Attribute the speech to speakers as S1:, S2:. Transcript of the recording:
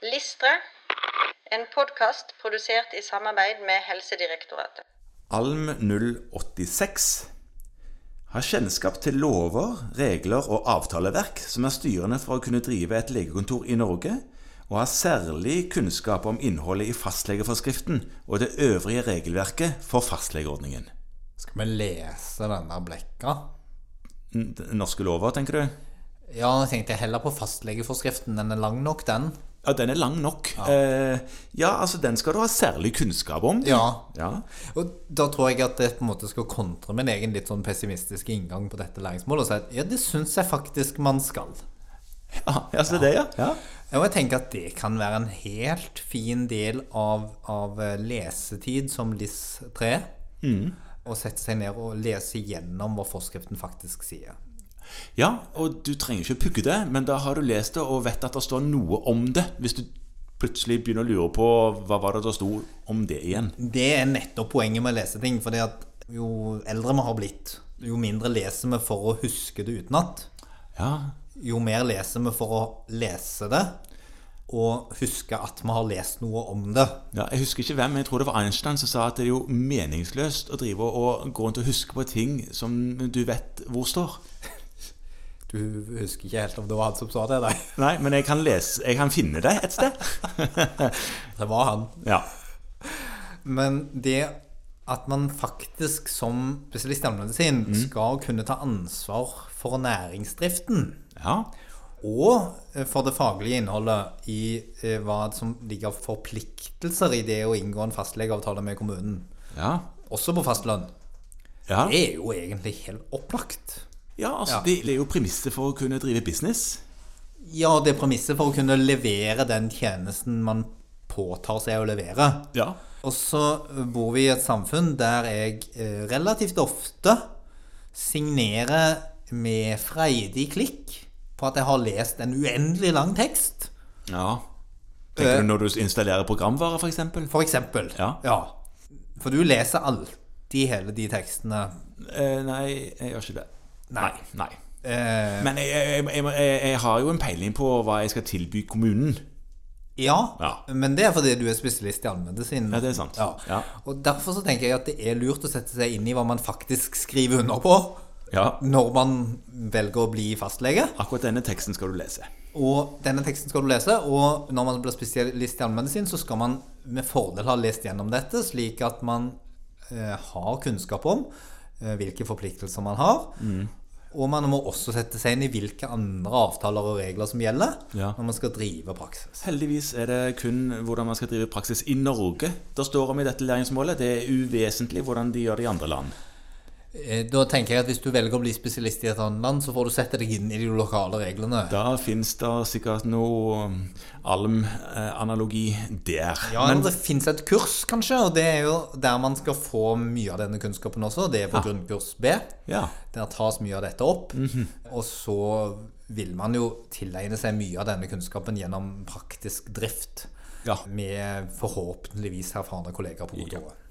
S1: Listre, en podkast produsert i samarbeid med Helsedirektoratet.
S2: Alm 086 har kjennskap til lover, regler og avtaleverk som er styrende for å kunne drive et legekontor i Norge, og har særlig kunnskap om innholdet i fastlegeforskriften og det øvrige regelverket for fastlegeordningen.
S3: Skal vi lese denne blekka?
S2: N- Norske lover, tenker du?
S3: Ja, jeg tenkte heller på fastlegeforskriften. Den er lang nok, den.
S2: Ja, den er lang nok. Eh, ja, altså, den skal du ha særlig kunnskap om.
S3: Ja.
S2: Ja,
S3: Og da tror jeg at jeg på en måte skal kontre min egen litt sånn pessimistiske inngang på dette læringsmålet og si at ja, det syns jeg faktisk man skal.
S2: ja, ja så det, ja. ja.
S3: Og jeg tenker at det kan være en helt fin del av, av eh, lesetid som LIS3. Å sette seg ned og lese gjennom hva forskriften faktisk sier.
S2: Ja, og du trenger ikke pugge det, men da har du lest det og vet at det står noe om det. Hvis du plutselig begynner å lure på hva var det det sto om det igjen.
S3: Det er nettopp poenget med å lese ting. For jo eldre vi har blitt, jo mindre leser vi for å huske det utenat.
S2: Ja,
S3: Jo mer leser vi for å lese det, og huske at vi har lest noe om det.
S2: ja Jeg husker ikke hvem, men jeg tror det var Einstein som sa at det er jo meningsløst å drive og gå rundt og huske på ting som du vet hvor står.
S3: Du husker ikke helt om det var han som sa det, nei.
S2: Nei, men jeg kan lese Jeg kan finne det et sted.
S3: Det var han.
S2: Ja.
S3: Men det at man faktisk som spesialist i allmennmedisin skal kunne ta ansvar for næringsdriften,
S2: ja.
S3: og eh, for det faglige innholdet i eh, hva som ligger av forpliktelser i det å inngå en fastlegeavtale med kommunen,
S2: Ja.
S3: også på fastlønn,
S2: Ja,
S3: det er jo egentlig helt opplagt.
S2: ja altså, det er jo premisset for å kunne drive business.
S3: Ja, det er premisset for å kunne levere den tjenesten man påtar seg å levere.
S2: Ja.
S3: Og så eh, bor vi i et samfunn der jeg eh, relativt ofte signerer med freidig klikk på at jeg har lest en uendelig lang tekst,
S2: ja. Tenker du når du installerer programvare, f.eks.?
S3: for eksempel.
S2: Ja.
S3: For du leser alltid hele de tekstene.
S2: Eh, nei, jeg gjør ikke det.
S3: Nei.
S2: Nei.
S3: Eh,
S2: Men jeg, jeg, jeg, jeg, jeg har jo en peiling på hva jeg skal tilby kommunen.
S3: ja,
S2: Ja.
S3: men det er fordi du er spesialist i allmennmedisin.
S2: Ja, det er sant.
S3: Ja.
S2: Ja.
S3: Og derfor så tenker jeg at det er lurt å sette seg inn i hva man faktisk skriver under på
S2: Ja.
S3: når man velger å bli fastlege.
S2: Akkurat denne teksten skal du lese.
S3: Og denne teksten skal du lese, og når man blir spesialist i allmennmedisin, så skal man med fordel ha lest gjennom dette, slik at man eh, har kunnskap om eh, hvilke forpliktelser man har.
S2: Mm.
S3: Og man må også sette seg inn i hvilke andre avtaler og regler som gjelder
S2: Ja.
S3: når man skal drive praksis.
S2: Heldigvis er det kun hvordan man skal drive praksis i Norge det står om i dette læringsmålet. Det er uvesentlig hvordan de gjør det i andre land.
S3: Eh, Da tenker jeg at hvis du velger å bli spesialist i et annet land, så får du sette deg inn i de lokale reglene.
S2: Da fins det sikkert noe um, alm-analogi der.
S3: Ja,
S2: Men
S3: Det fins et kurs, kanskje, og det er jo der man skal få mye av denne kunnskapen også. Det er
S2: Ah.
S3: på grunnkurs B.
S2: ja,
S3: Der tas mye av dette opp, og så vil man jo tilegne seg mye av denne kunnskapen gjennom praktisk drift
S2: Ja.
S3: med forhåpentligvis erfarne kollegaer på kontoret.